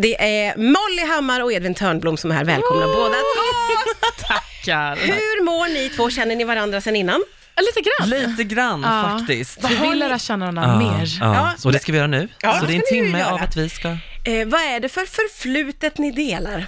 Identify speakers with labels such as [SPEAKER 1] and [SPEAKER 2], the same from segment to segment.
[SPEAKER 1] Det är Molly Hammar och Edvin Törnblom som är här. Välkomna båda två!
[SPEAKER 2] Tackar.
[SPEAKER 1] Hur mår ni två? Känner ni varandra sedan innan?
[SPEAKER 3] Lite grann.
[SPEAKER 2] Lite grann
[SPEAKER 3] Ja.
[SPEAKER 2] faktiskt.
[SPEAKER 3] Vi vill lära känna
[SPEAKER 2] Ah,
[SPEAKER 3] varandra mer.
[SPEAKER 2] Ja.
[SPEAKER 1] Ja.
[SPEAKER 2] Så det ska vi göra nu.
[SPEAKER 1] Ja,
[SPEAKER 2] så det är en
[SPEAKER 1] det ska vi
[SPEAKER 2] timme
[SPEAKER 1] göra.
[SPEAKER 2] av att vi ska...
[SPEAKER 1] Eh, vad är det för förflutet ni delar?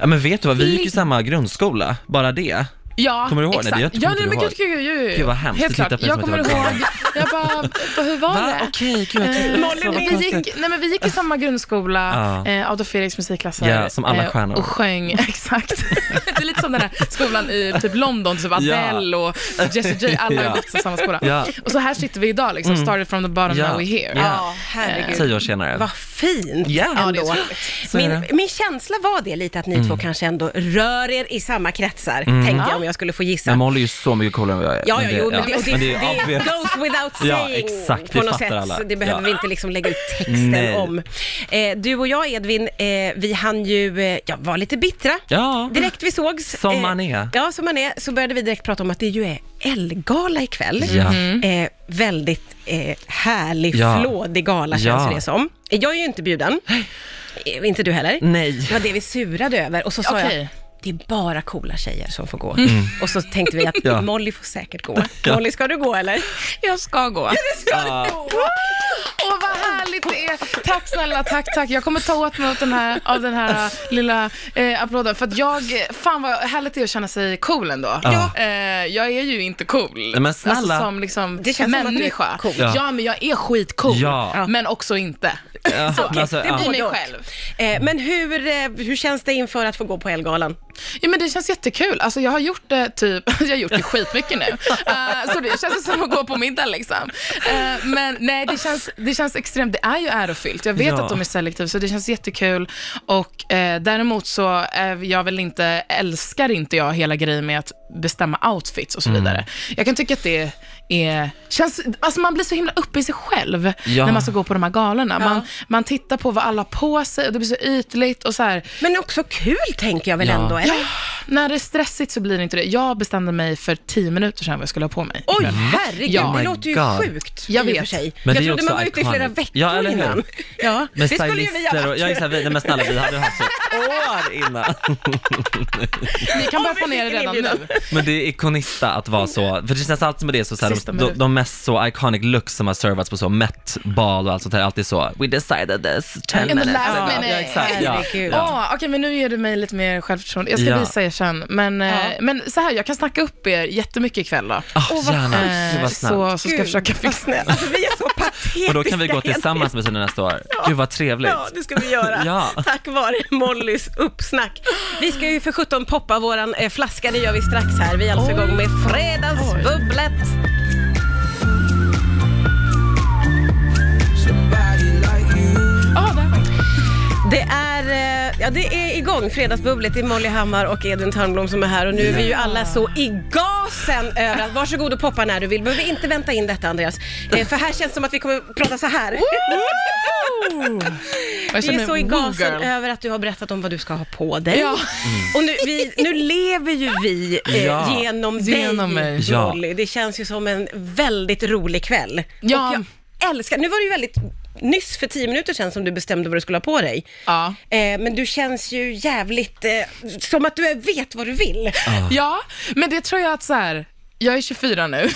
[SPEAKER 2] Ja men vet du vad, vi gick ju samma grundskola, bara det.
[SPEAKER 3] Ja,
[SPEAKER 2] Kommer du ihåg? Nej,
[SPEAKER 3] Exakt.
[SPEAKER 2] det- jag tror
[SPEAKER 3] ja,
[SPEAKER 2] inte
[SPEAKER 3] nej,
[SPEAKER 2] du
[SPEAKER 3] men
[SPEAKER 2] har.
[SPEAKER 3] gud, gud, gud, gud.
[SPEAKER 2] Gud, vad hemskt.
[SPEAKER 3] Helt
[SPEAKER 2] Du tittar
[SPEAKER 3] klart.
[SPEAKER 2] på mig
[SPEAKER 3] Jag
[SPEAKER 2] som
[SPEAKER 3] kommer
[SPEAKER 2] att jag var
[SPEAKER 3] ihåg, jag bara, bara, hur var
[SPEAKER 2] Va?
[SPEAKER 3] det?
[SPEAKER 2] Okej, gud jag tyckte
[SPEAKER 3] Eh,
[SPEAKER 2] det var
[SPEAKER 3] nej, men vi,
[SPEAKER 2] konstigt.
[SPEAKER 3] gick, nej, men vi gick i samma grundskola,
[SPEAKER 2] Ja.
[SPEAKER 3] eh, Adolf Fredriks musikklasser.
[SPEAKER 2] Ja, som alla
[SPEAKER 3] eh,
[SPEAKER 2] stjärnor.
[SPEAKER 3] Och sjöng, exakt. det är lite som den här skolan i typ London, typ Adele och Jessie J, alla har
[SPEAKER 2] Ja.
[SPEAKER 3] ju gått i samma skola.
[SPEAKER 2] Ja. Mm.
[SPEAKER 3] Och så här sitter vi idag, liksom, started from the bottom,
[SPEAKER 2] Ja.
[SPEAKER 3] now we're here.
[SPEAKER 2] Ja.
[SPEAKER 1] herregud.
[SPEAKER 2] Tio år senare.
[SPEAKER 1] Vad fint
[SPEAKER 2] Ja. Ja, det är
[SPEAKER 1] ändå.
[SPEAKER 2] Så är
[SPEAKER 1] Min,
[SPEAKER 2] det. Mm.
[SPEAKER 1] min känsla var det lite att ni två kanske ändå rör er i samma kretsar, tänkte jag om jag skulle få gissa.
[SPEAKER 2] Men Molly är ju så mycket coolare än vad jag är.
[SPEAKER 1] Ja,
[SPEAKER 2] Men
[SPEAKER 1] ja,
[SPEAKER 2] det-
[SPEAKER 1] jo, men
[SPEAKER 2] ja.
[SPEAKER 1] det, och det,
[SPEAKER 2] Men det
[SPEAKER 1] det,
[SPEAKER 2] är obvious.
[SPEAKER 1] goes without
[SPEAKER 2] Ja,
[SPEAKER 1] saying
[SPEAKER 2] exakt,
[SPEAKER 1] på
[SPEAKER 2] det
[SPEAKER 1] något
[SPEAKER 2] fattar
[SPEAKER 1] sätt.
[SPEAKER 2] alla.
[SPEAKER 1] Så det behöver
[SPEAKER 2] Ja.
[SPEAKER 1] vi inte liksom lägga ut texten
[SPEAKER 2] Nej.
[SPEAKER 1] om. Eh, du och jag, Edvin, eh, vi hann ju eh, ja, vara lite bittra.
[SPEAKER 2] Ja.
[SPEAKER 1] Direkt vi sågs. eh,
[SPEAKER 2] Som man är.
[SPEAKER 1] Ja, som man är. Så började vi direkt prata om att det ju är Elgala ikväll.
[SPEAKER 2] Ja.
[SPEAKER 1] Eh, väldigt eh, härlig,
[SPEAKER 2] Ja.
[SPEAKER 1] flådig gala känns
[SPEAKER 2] Ja.
[SPEAKER 1] det som. Jag är ju inte bjuden. Eh, Inte du heller.
[SPEAKER 2] Nej.
[SPEAKER 1] Det var det vi surade över och så sa jag
[SPEAKER 3] Okej.
[SPEAKER 1] det är bara coola tjejer som får gå. Och så tänkte vi att
[SPEAKER 2] Mm. Ja.
[SPEAKER 1] Molly får säkert gå. Molly, ska du gå eller?
[SPEAKER 3] Jag ska gå.
[SPEAKER 2] Ja.
[SPEAKER 3] Åh, vad härligt det är. Tack snälla, tack, tack. Jag kommer ta åt mig av den här, av den här äh, lilla eh, applåden. För att jag, eh, fan vad härligt det är att känna sig cool ändå.
[SPEAKER 2] Ja.
[SPEAKER 3] Eh, jag är ju inte cool.
[SPEAKER 2] men snälla.
[SPEAKER 3] Alltså, som liksom
[SPEAKER 1] Det känns som att du är
[SPEAKER 3] människa.
[SPEAKER 1] cool.
[SPEAKER 2] Ja.
[SPEAKER 3] Ja. men jag är skitcool.
[SPEAKER 2] Ja.
[SPEAKER 3] Men också inte.
[SPEAKER 2] Ja, men alltså,
[SPEAKER 1] det
[SPEAKER 2] ja.
[SPEAKER 1] blir-
[SPEAKER 3] I mig
[SPEAKER 1] Både och.
[SPEAKER 3] själv.
[SPEAKER 1] Eh, men hur, eh, hur känns det inför att få gå på Elgalan?
[SPEAKER 3] Ja, men det känns jättekul. Alltså, jag har gjort det typ, jag har gjort det skitmycket nu. Eh, så det känns som att gå på middag liksom. Eh, men nej, det känns, det känns extremt, det är ju ärofyllt. Jag vet
[SPEAKER 2] Ja.
[SPEAKER 3] att de är selektiva, så det känns jättekul. Och eh, däremot så är jag väl inte, älskar inte jag hela grejen med att bestämma outfits och så
[SPEAKER 2] Mm.
[SPEAKER 3] vidare. Jag kan tycka att det är, känns, alltså man blir så himla uppe i sig själv
[SPEAKER 2] Ja.
[SPEAKER 3] när man ska gå på de här galorna. Man, man tittar på vad alla har på sig och det blir så ytligt och så här,
[SPEAKER 1] Men också kul tänker jag väl
[SPEAKER 2] Ja.
[SPEAKER 1] ändå, eller?
[SPEAKER 3] när det är stressigt så blir det inte det. Jag bestämde mig för tio minuter sedan vad jag skulle ha på mig.
[SPEAKER 1] Oj, herregud,
[SPEAKER 3] Ja.
[SPEAKER 1] det
[SPEAKER 2] Oh My
[SPEAKER 1] låter ju
[SPEAKER 2] God.
[SPEAKER 1] sjukt
[SPEAKER 3] Jag
[SPEAKER 1] i och
[SPEAKER 3] vet.
[SPEAKER 1] för sig.
[SPEAKER 2] Men
[SPEAKER 1] jag
[SPEAKER 2] det är
[SPEAKER 1] trodde
[SPEAKER 2] också
[SPEAKER 1] man var ute i
[SPEAKER 2] iconic.
[SPEAKER 1] flera veckor
[SPEAKER 2] Ja, eller hur?
[SPEAKER 1] innan. Ja,
[SPEAKER 2] Med
[SPEAKER 1] det skulle ju vi
[SPEAKER 2] stylister och, ja exakt, vi, nej men snälla vi hade haft så år innan.
[SPEAKER 3] Ni kan börja
[SPEAKER 1] vi
[SPEAKER 3] planera
[SPEAKER 1] fick en
[SPEAKER 3] redan
[SPEAKER 1] inbjudan.
[SPEAKER 3] nu.
[SPEAKER 2] Men det är ikonista att vara så, för det känns alltid som det så, så här,
[SPEAKER 3] Sista
[SPEAKER 2] de, de,
[SPEAKER 3] minuten.
[SPEAKER 2] de mest så iconic looks som har servats på så Met-bal och allt sånt här, alltid så “We decided this, 10
[SPEAKER 3] In the
[SPEAKER 2] minutes
[SPEAKER 3] last
[SPEAKER 2] ago."
[SPEAKER 3] minute.
[SPEAKER 2] Ja, exakt, ja.
[SPEAKER 1] Herregud.
[SPEAKER 2] Ja.
[SPEAKER 3] Ja, Okej, men nu ger du mig lite mer självförtroende. Jag ska
[SPEAKER 2] Ja.
[SPEAKER 3] visa er sen. Men, eh, men så här, jag kan snacka upp er jättemycket ikväll då.
[SPEAKER 2] Ah,
[SPEAKER 1] Åh, vad
[SPEAKER 2] gärna,
[SPEAKER 3] Eh,
[SPEAKER 2] gud vad snällt.
[SPEAKER 3] så, så ska jag försöka
[SPEAKER 1] vad
[SPEAKER 3] fixa
[SPEAKER 1] snällt. Alltså, vi är så patetiska.
[SPEAKER 2] Och då kan vi gå
[SPEAKER 1] Edvin.
[SPEAKER 2] tillsammans med sina nästa år. Gud vad trevligt.
[SPEAKER 1] Ja, det ska vi göra.
[SPEAKER 2] Ja.
[SPEAKER 1] Tack vare Mollys uppsnack. Vi ska ju för 17 poppa våran eh, flaska, det gör vi strax här. Vi är alltså igång med Fredagsbubblet.
[SPEAKER 3] Ja, där var jag.
[SPEAKER 1] Det är, eh, ja, det är igång, Fredagsbubblet. Det är Molly Hammar och Edvin Törnblom som är här och nu är vi ju alla så i gasen över att varsågod och poppa när du vill. Behöver inte vänta in detta Andreas, eh, för här känns det som att vi kommer prata så här.
[SPEAKER 3] jag
[SPEAKER 1] Vi
[SPEAKER 3] känner
[SPEAKER 1] är
[SPEAKER 3] mig
[SPEAKER 1] så i
[SPEAKER 3] woo
[SPEAKER 1] gasen Eh,
[SPEAKER 3] girl.
[SPEAKER 1] över att du har berättat om vad du ska ha på dig. Mm.
[SPEAKER 3] Ja.
[SPEAKER 1] Och nu, vi, nu lever ju vi eh,
[SPEAKER 2] Ja.
[SPEAKER 1] genom,
[SPEAKER 3] Genom
[SPEAKER 1] dig,
[SPEAKER 3] mig.
[SPEAKER 2] Ja.
[SPEAKER 1] Molly. Det känns ju som en väldigt rolig kväll.
[SPEAKER 3] Ja.
[SPEAKER 1] Och jag älskar, nu var det ju väldigt nyss för tio minuter sedan som du bestämde vad du skulle ha på dig.
[SPEAKER 3] Ja.
[SPEAKER 1] Eh, men du känns ju jävligt, eh, som att du vet vad du vill.
[SPEAKER 3] Ja, men det tror jag att så här, jag är 24 nu.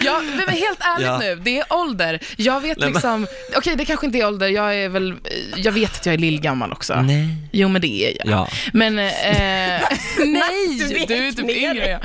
[SPEAKER 3] ja, men helt ärligt
[SPEAKER 2] Ja.
[SPEAKER 3] nu, det är ålder. Jag vet
[SPEAKER 2] Nej, men-
[SPEAKER 3] liksom, okej det kanske inte är ålder, jag är väl, jag vet att jag är lillgammal också.
[SPEAKER 2] Nej.
[SPEAKER 3] Jo men det är jag.
[SPEAKER 2] Ja.
[SPEAKER 3] Men, eh,
[SPEAKER 1] Du
[SPEAKER 3] nej,
[SPEAKER 1] vet
[SPEAKER 3] du är typ
[SPEAKER 1] mer.
[SPEAKER 3] yngre. än jag.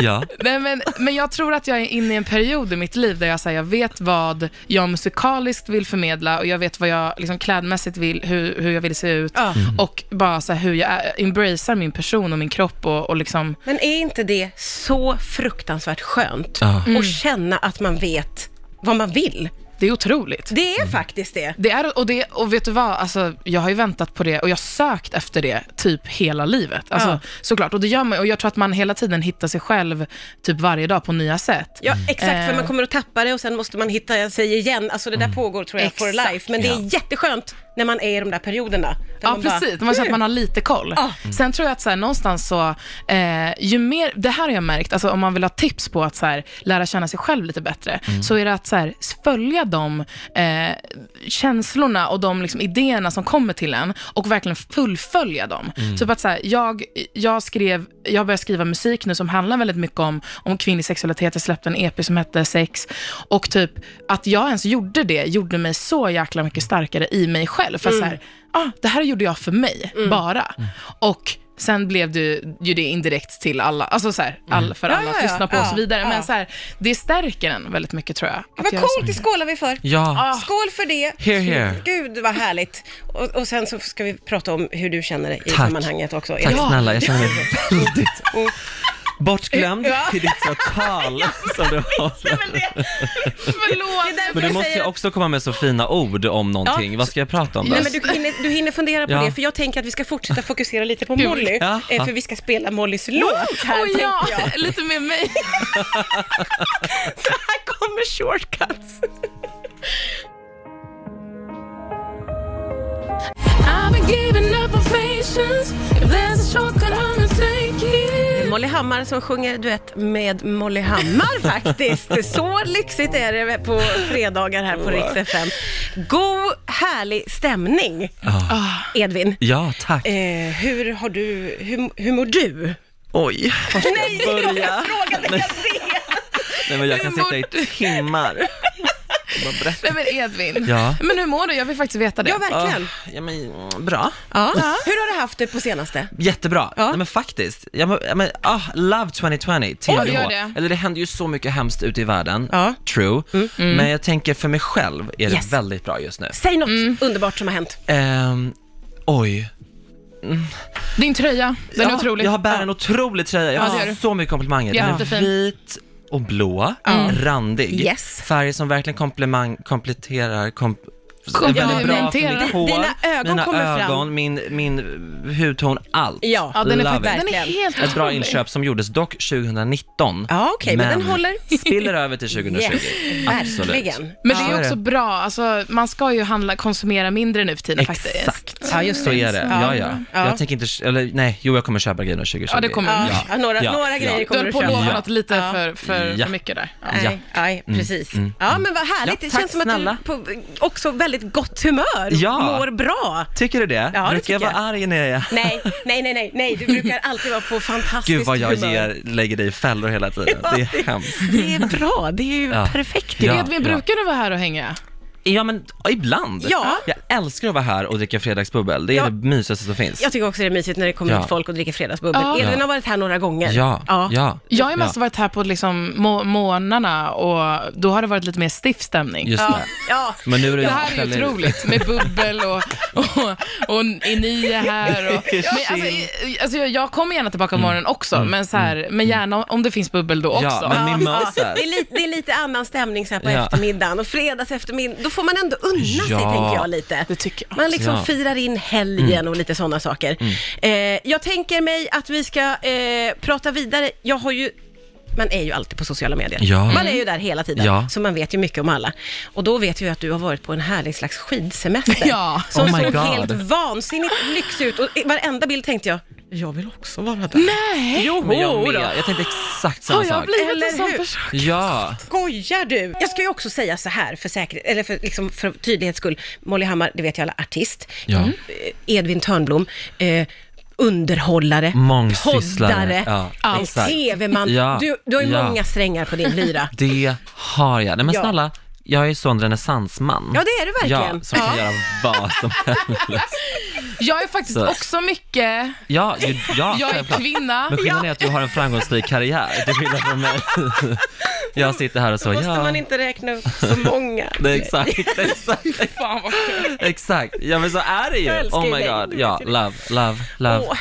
[SPEAKER 2] Ja.
[SPEAKER 3] Nej, men, men jag tror att jag är inne i en period i mitt liv där jag, så här, jag vet vad jag musikaliskt vill förmedla och jag vet vad jag liksom, klädmässigt vill, hur, hur jag vill se ut
[SPEAKER 1] Ja.
[SPEAKER 3] och bara så här, hur jag är- embracear min person och min kropp och, och liksom,
[SPEAKER 1] Men är inte det så fruktansvärt skönt?
[SPEAKER 2] Ja.
[SPEAKER 3] Mm.
[SPEAKER 1] Att känna att man vet vad man vill.
[SPEAKER 3] det är otroligt.
[SPEAKER 1] Det är faktiskt det.
[SPEAKER 3] Det är, och, det, och vet du vad, alltså, jag har ju väntat på det och jag har sökt efter det typ hela livet. Alltså,
[SPEAKER 1] Ja.
[SPEAKER 3] Såklart, och det gör man och jag tror att man hela tiden hittar sig själv typ varje dag på nya sätt.
[SPEAKER 1] Ja, exakt, för
[SPEAKER 3] Eh.
[SPEAKER 1] man kommer att tappa det och sen måste man hitta sig igen. Alltså det där pågår tror jag for
[SPEAKER 3] Exakt.
[SPEAKER 1] life, men det är jätteskönt när man är i de där perioderna. Där
[SPEAKER 3] Ja,
[SPEAKER 1] man bara- "Ah,
[SPEAKER 3] precis. Man känner att man har lite koll.
[SPEAKER 1] Ja.
[SPEAKER 3] Sen tror jag att så här, någonstans så, eh, ju mer, det här har jag märkt, alltså, om man vill ha tips på att så här, lära känna sig själv lite bättre, så är det att så här, följa de eh, känslorna och de liksom, idéerna som kommer till en och verkligen fullfölja dem. Typ att så här, jag, jag skrev, jag började skriva musik nu som handlar väldigt mycket om, om kvinnlig sexualitet. Jag släppte en EP som hette Sex och typ att jag ens gjorde det gjorde mig så jäkla mycket starkare i mig själv. För att så
[SPEAKER 1] Mm.
[SPEAKER 3] här, ah, det här gjorde jag för mig, bara.
[SPEAKER 2] Mm.
[SPEAKER 3] Och sen blev det ju- ju det indirekt till alla, alltså så här,
[SPEAKER 2] Mm.
[SPEAKER 3] all, för
[SPEAKER 1] Ja,
[SPEAKER 3] alla
[SPEAKER 1] ja,
[SPEAKER 3] att
[SPEAKER 1] ja.
[SPEAKER 3] lyssna på och
[SPEAKER 1] Ja,
[SPEAKER 3] så vidare.
[SPEAKER 1] ja.
[SPEAKER 3] Men så här, det stärker en väldigt mycket tror jag. att
[SPEAKER 1] Vad
[SPEAKER 3] göra så.
[SPEAKER 1] coolt, det skålar vi för.
[SPEAKER 2] Ja.
[SPEAKER 1] Skål för det.
[SPEAKER 2] Here, here.
[SPEAKER 1] Gud vad härligt. Och, och sen så ska vi prata om hur du känner dig i
[SPEAKER 2] Tack.
[SPEAKER 1] sammanhanget också.
[SPEAKER 2] Tack
[SPEAKER 1] Ja. Oh.
[SPEAKER 2] snälla, jag känner mig väldigt bortglömd
[SPEAKER 1] Ja.
[SPEAKER 2] i ditt så tal som du håller.
[SPEAKER 1] Det är
[SPEAKER 3] Förlåt!
[SPEAKER 1] därför
[SPEAKER 2] Men du
[SPEAKER 1] jag
[SPEAKER 2] måste ju
[SPEAKER 1] säger-
[SPEAKER 2] också komma med så fina ord om någonting.
[SPEAKER 1] Ja.
[SPEAKER 2] Vad ska jag prata om då?
[SPEAKER 1] Nej, men du, hinner, du hinner fundera på
[SPEAKER 2] Ja.
[SPEAKER 1] det, för jag tänker att vi ska fortsätta fokusera lite på
[SPEAKER 3] Gud.
[SPEAKER 1] Molly,
[SPEAKER 2] Ja.
[SPEAKER 1] eh, för vi ska spela Mollys låt här,
[SPEAKER 3] Oj,
[SPEAKER 1] tänker
[SPEAKER 3] ja,
[SPEAKER 1] jag.
[SPEAKER 3] lite med mig.
[SPEAKER 1] Så här kommer shortcuts.
[SPEAKER 4] I've been giving up on patience. If there's a shortcut, I'm gonna take it.
[SPEAKER 1] Molly Hammar som sjunger duett med Molly Hammar faktiskt. Så lyxigt är det på fredagar här på Rix FM. God, härlig stämning, Edvin.
[SPEAKER 2] Ja, tack.
[SPEAKER 1] Eh, hur, har du, hur, hur mår du?
[SPEAKER 2] Oj.
[SPEAKER 1] Nej, jag
[SPEAKER 2] börja?
[SPEAKER 1] frågade jag det?
[SPEAKER 2] Nej, men jag kan sitta i timmar. och bara
[SPEAKER 3] Nej,
[SPEAKER 2] berätta.
[SPEAKER 3] men Edvin,
[SPEAKER 2] Ja.
[SPEAKER 3] men hur mår du? Jag vill faktiskt veta det.
[SPEAKER 1] Ja, verkligen.
[SPEAKER 2] Ah, Ja, men, mm, bra.
[SPEAKER 1] Ja. Ah. Hur har du haft det på senaste?
[SPEAKER 2] Jättebra.
[SPEAKER 1] Ja.
[SPEAKER 2] Nej, men faktiskt. Jag, må- jag, men, ah, love 2020, TBH.
[SPEAKER 3] gör det.
[SPEAKER 2] Eller det Mm. händer ju så mycket hemskt ute i världen,
[SPEAKER 1] Ja.
[SPEAKER 2] true. Men jag tänker för mig själv är det
[SPEAKER 1] Yes.
[SPEAKER 2] väldigt bra just nu.
[SPEAKER 1] Säg något
[SPEAKER 2] Mm.
[SPEAKER 1] underbart som har hänt.
[SPEAKER 2] Ehm, oj.
[SPEAKER 3] Din tröja, den är
[SPEAKER 2] Ja,
[SPEAKER 3] otrolig.
[SPEAKER 2] Jag har bär en otrolig tröja. Jag
[SPEAKER 3] Ja, det
[SPEAKER 2] har
[SPEAKER 3] gör du.
[SPEAKER 2] så mycket komplimanger.
[SPEAKER 3] Ja.
[SPEAKER 2] Den är
[SPEAKER 3] Jättefin.
[SPEAKER 2] vit och blå, randig.
[SPEAKER 1] Yes.
[SPEAKER 2] Färger som verkligen komplimang, kompletterar komp
[SPEAKER 3] Komplementerar.
[SPEAKER 2] mitt hår,
[SPEAKER 1] Dina ögon
[SPEAKER 2] mina
[SPEAKER 1] kommer fram.
[SPEAKER 2] ögon, Min, min hudton, allt.
[SPEAKER 1] Ja.
[SPEAKER 3] Ja, den är,
[SPEAKER 2] Love
[SPEAKER 3] faktiskt-
[SPEAKER 2] it.
[SPEAKER 3] den är helt
[SPEAKER 2] Ett bra
[SPEAKER 3] otrolig.
[SPEAKER 2] inköp som gjordes dock 2019.
[SPEAKER 1] Ja, okej, men den håller.
[SPEAKER 2] spiller över till 2020.
[SPEAKER 1] Yes,
[SPEAKER 2] Absolut.
[SPEAKER 1] verkligen.
[SPEAKER 3] Men
[SPEAKER 2] Ja.
[SPEAKER 3] det
[SPEAKER 2] Så
[SPEAKER 3] är
[SPEAKER 2] är
[SPEAKER 3] också
[SPEAKER 2] det.
[SPEAKER 3] bra, alltså, man ska ju handla, konsumera mindre nu för tiden faktiskt.
[SPEAKER 2] Exakt.
[SPEAKER 1] Ja, just
[SPEAKER 2] Så
[SPEAKER 1] det.
[SPEAKER 2] är det. Ja, ja.
[SPEAKER 1] Ja.
[SPEAKER 2] Jag tänker inte, eller nej, jo jag kommer köpa grejer 2020.
[SPEAKER 3] Ja, det kommer du.
[SPEAKER 1] Ja, några,
[SPEAKER 2] Ja,
[SPEAKER 1] några
[SPEAKER 2] ja.
[SPEAKER 1] grejer
[SPEAKER 3] Du
[SPEAKER 1] kommer
[SPEAKER 3] höll
[SPEAKER 1] du
[SPEAKER 3] på att lova
[SPEAKER 1] köpa.
[SPEAKER 2] Ja.
[SPEAKER 3] något lite
[SPEAKER 1] Ja.
[SPEAKER 3] för, för,
[SPEAKER 2] Ja.
[SPEAKER 3] för mycket där. Ja.
[SPEAKER 2] Ja. Mm,
[SPEAKER 1] Nej, nej, precis. Ja, men vad härligt.
[SPEAKER 2] Ja,
[SPEAKER 1] det
[SPEAKER 2] tack
[SPEAKER 1] känns som att
[SPEAKER 2] snälla.
[SPEAKER 1] du på, också väldigt gott humör och
[SPEAKER 2] Ja.
[SPEAKER 1] mår bra.
[SPEAKER 2] Tycker du det?
[SPEAKER 1] Ja, det
[SPEAKER 2] Brukar
[SPEAKER 1] tycker
[SPEAKER 2] jag vara
[SPEAKER 1] jag.
[SPEAKER 2] arg när jag är...
[SPEAKER 1] Nej, nej, nej, nej, nej, du brukar alltid vara på fantastiskt
[SPEAKER 2] Gud vad jag
[SPEAKER 1] humör.
[SPEAKER 2] ger, lägger dig i fällor hela tiden. Det är hemskt.
[SPEAKER 1] Det är bra, det är ju
[SPEAKER 2] Ja.
[SPEAKER 1] perfekt.
[SPEAKER 2] Ja.
[SPEAKER 3] Edvin, brukar du vara här och hänga?
[SPEAKER 2] Ja men ibland.
[SPEAKER 1] Ja.
[SPEAKER 2] Jag älskar att vara här och dricka fredagsbubbel. Det är
[SPEAKER 1] Ja.
[SPEAKER 2] det mysigaste som finns.
[SPEAKER 1] Jag tycker också det är mysigt när det kommer
[SPEAKER 2] Ja.
[SPEAKER 1] ut folk och dricker fredagsbubbel.
[SPEAKER 3] Ja.
[SPEAKER 1] Edvin har varit här några gånger.
[SPEAKER 2] Ja, ja.
[SPEAKER 3] Jag har ju
[SPEAKER 2] Ja.
[SPEAKER 3] mest varit här på liksom må- månaderna och då har det varit lite mer stiff stämning.
[SPEAKER 2] Just
[SPEAKER 1] Ja.
[SPEAKER 2] det.
[SPEAKER 1] ja.
[SPEAKER 2] Men nu är det,
[SPEAKER 3] Det här är ju otroligt med bubbel och, och, och är ni här. Och, men alltså, i- alltså, jag- jag kommer gärna tillbaka på morgonen också, men, så här, men gärna om det finns bubbel då också.
[SPEAKER 2] Mm. Ja, men min
[SPEAKER 1] Ja,
[SPEAKER 2] mumps här.
[SPEAKER 1] det, är lite, det är lite annan stämning så här på
[SPEAKER 2] Ja.
[SPEAKER 1] eftermiddagen och fredags eftermiddag. Då får man ändå unna sig,
[SPEAKER 2] Ja.
[SPEAKER 1] tänker jag lite.
[SPEAKER 3] Det tycker jag.
[SPEAKER 1] Man liksom
[SPEAKER 2] Ja. Mm.
[SPEAKER 1] firar in helgen och lite sådana saker. Eh, jag tänker mig att vi ska eh, prata vidare. Jag har ju man är ju alltid på sociala medier.
[SPEAKER 2] Ja.
[SPEAKER 1] Man är ju där hela tiden,
[SPEAKER 2] Ja.
[SPEAKER 1] så man vet ju mycket om alla. Och då vet vi ju att du har varit på en härlig slags skidsemester.
[SPEAKER 3] Ja.
[SPEAKER 1] Som
[SPEAKER 2] Oh my
[SPEAKER 1] såg
[SPEAKER 2] God.
[SPEAKER 1] helt vansinnigt lyxig ut. Och i varenda bild tänkte jag, jag vill också vara där.
[SPEAKER 3] Nej,
[SPEAKER 1] Jo,
[SPEAKER 2] Men jag
[SPEAKER 1] då.
[SPEAKER 2] med. Jag tänkte exakt samma
[SPEAKER 3] har jag
[SPEAKER 2] sak.
[SPEAKER 3] blivit en
[SPEAKER 1] Eller hur?
[SPEAKER 3] sån person?
[SPEAKER 2] Ja.
[SPEAKER 1] Skojar du? Jag ska ju också säga så här för, säkerhet, eller för, liksom, för tydlighets skull. Molly Hammar, det vet jag alla, artist.
[SPEAKER 2] Ja.
[SPEAKER 1] Mm. Edvin Törnblom. Eh, underhållare,
[SPEAKER 2] Mångsysslare.
[SPEAKER 1] poddare,
[SPEAKER 2] Ja,
[SPEAKER 1] allt.
[SPEAKER 2] exakt.
[SPEAKER 1] tv-man.
[SPEAKER 2] Ja,
[SPEAKER 1] Du, du har ju
[SPEAKER 2] ja.
[SPEAKER 1] många strängar på din lyra.
[SPEAKER 2] Det har jag. Nej men
[SPEAKER 1] Ja.
[SPEAKER 2] snälla, jag är ju sån renässansman.
[SPEAKER 1] Ja, det är du verkligen.
[SPEAKER 2] Ja, som kan
[SPEAKER 1] Ja.
[SPEAKER 2] göra vad som helst.
[SPEAKER 3] Jag är faktiskt
[SPEAKER 2] Så.
[SPEAKER 3] också mycket,
[SPEAKER 2] Ja, ju, ja
[SPEAKER 3] jag är
[SPEAKER 2] självklart.
[SPEAKER 3] kvinna.
[SPEAKER 2] Men skillnaden är att du har en framgångsrik karriär, till skillnad från mig. Jag sitter här och så,
[SPEAKER 1] Måste
[SPEAKER 2] ja.
[SPEAKER 1] man inte räkna upp så många?
[SPEAKER 2] Det är exakt, exakt,
[SPEAKER 3] Fan vad kul.
[SPEAKER 2] exakt. Ja men så är det
[SPEAKER 1] Jag
[SPEAKER 2] ju.
[SPEAKER 1] älskar
[SPEAKER 2] Oh my
[SPEAKER 1] dig.
[SPEAKER 2] god. Ja, love, love, love.
[SPEAKER 1] Åh.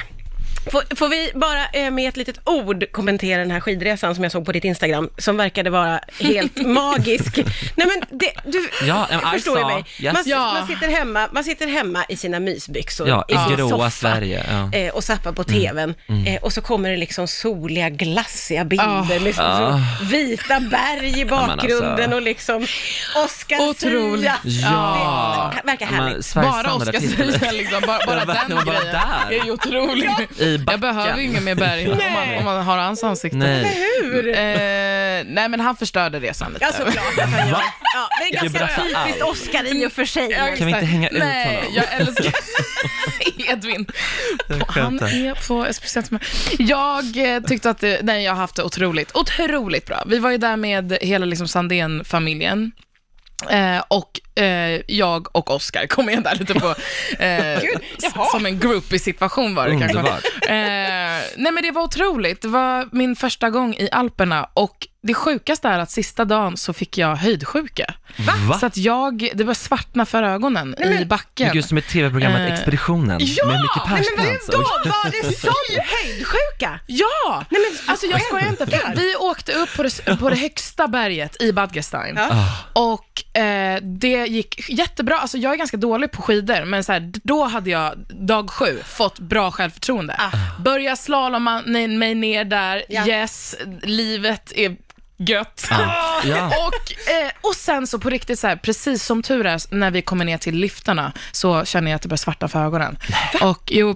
[SPEAKER 1] Får, får vi bara eh, med ett litet ord kommentera den här skidresan som jag såg på ditt Instagram, som verkade vara helt magisk. Nej men, det, du
[SPEAKER 2] Ja, em, I
[SPEAKER 1] förstår ju
[SPEAKER 2] saw.
[SPEAKER 1] mig.
[SPEAKER 2] Yes.
[SPEAKER 1] Man,
[SPEAKER 3] Ja.
[SPEAKER 1] man, sitter hemma, man sitter hemma i sina mysbyxor,
[SPEAKER 2] Ja, i
[SPEAKER 1] sin
[SPEAKER 2] gråa
[SPEAKER 1] soffa
[SPEAKER 2] Sverige, ja. Mm.
[SPEAKER 1] eh, och zappar på TVn. Eh, och så kommer det liksom soliga, glassiga bilder
[SPEAKER 3] Ah.
[SPEAKER 1] med så, så vita berg i
[SPEAKER 2] men
[SPEAKER 1] bakgrunden
[SPEAKER 2] alltså.
[SPEAKER 1] och liksom Oscar
[SPEAKER 3] Otroligt.
[SPEAKER 1] Sia.
[SPEAKER 2] Ja!
[SPEAKER 1] Det verkar
[SPEAKER 2] Men,
[SPEAKER 1] härligt.
[SPEAKER 2] Sveriges
[SPEAKER 3] Bara
[SPEAKER 2] standard
[SPEAKER 3] Oscar
[SPEAKER 2] artist.
[SPEAKER 3] Zia, liksom. bara, bara
[SPEAKER 2] Ja,
[SPEAKER 3] den
[SPEAKER 2] verkligen, bara
[SPEAKER 3] grejen
[SPEAKER 2] där.
[SPEAKER 3] är ju otrolig.
[SPEAKER 2] I
[SPEAKER 3] Jag
[SPEAKER 2] backen.
[SPEAKER 3] behöver ju inget mer berg om man, om man har hans ansikte.
[SPEAKER 2] Nej.
[SPEAKER 3] Eh, nej, men han förstörde resan lite.
[SPEAKER 1] Ja, såklart att han gör. Ja, det är
[SPEAKER 2] Du
[SPEAKER 1] ganska
[SPEAKER 2] berättar
[SPEAKER 1] typiskt
[SPEAKER 2] allt.
[SPEAKER 1] Oscar i och för sig.
[SPEAKER 3] Ja,
[SPEAKER 2] Kan vi inte
[SPEAKER 3] exakt.
[SPEAKER 2] hänga ut
[SPEAKER 3] Nej,
[SPEAKER 2] honom?
[SPEAKER 3] jag älskar Edvin. Han
[SPEAKER 2] skämtar.
[SPEAKER 3] är på SPC. Jag eh, tyckte att det, nej, jag har haft det otroligt, otroligt bra. Vi var ju där med hela liksom Sandén-familjen. Eh, och eh, jag och Oscar kom med där lite på, eh, s- som en groupie-situation var det
[SPEAKER 2] Underbart.
[SPEAKER 3] kanske. Eh, nej men det var otroligt. Det var min första gång i Alperna och det sjukaste är att sista dagen så fick jag höjdsjuka.
[SPEAKER 2] Va?
[SPEAKER 3] Så att jag, det började svartna för ögonen i backen.
[SPEAKER 2] Gud, som i tv-programmet
[SPEAKER 3] Eh,
[SPEAKER 2] Expeditionen
[SPEAKER 3] ja!
[SPEAKER 2] med Micke
[SPEAKER 3] Nej,
[SPEAKER 1] Men
[SPEAKER 2] Persbrandt. alltså.
[SPEAKER 1] vadå, var det sån höjdsjuka?
[SPEAKER 3] Ja!
[SPEAKER 1] Nej, men,
[SPEAKER 3] Alltså jag skojar inte. För vi åkte upp på det, på det högsta berget i Badgestein
[SPEAKER 1] Ja.
[SPEAKER 2] Ah,
[SPEAKER 3] och eh, det gick jättebra. Alltså jag är ganska dålig på skidor, men så här, då hade jag dag sju fått bra självförtroende. Börja slaloma mig ner där,
[SPEAKER 1] Ah. Ja.
[SPEAKER 3] yes, livet är gött.
[SPEAKER 1] Ah.
[SPEAKER 2] Ja. Ja.
[SPEAKER 3] Och, eh, och sen så på riktigt, så här, precis som tur är, när vi kommer ner till liftarna så känner jag att det börjar svarta för ögonen. Och, jo,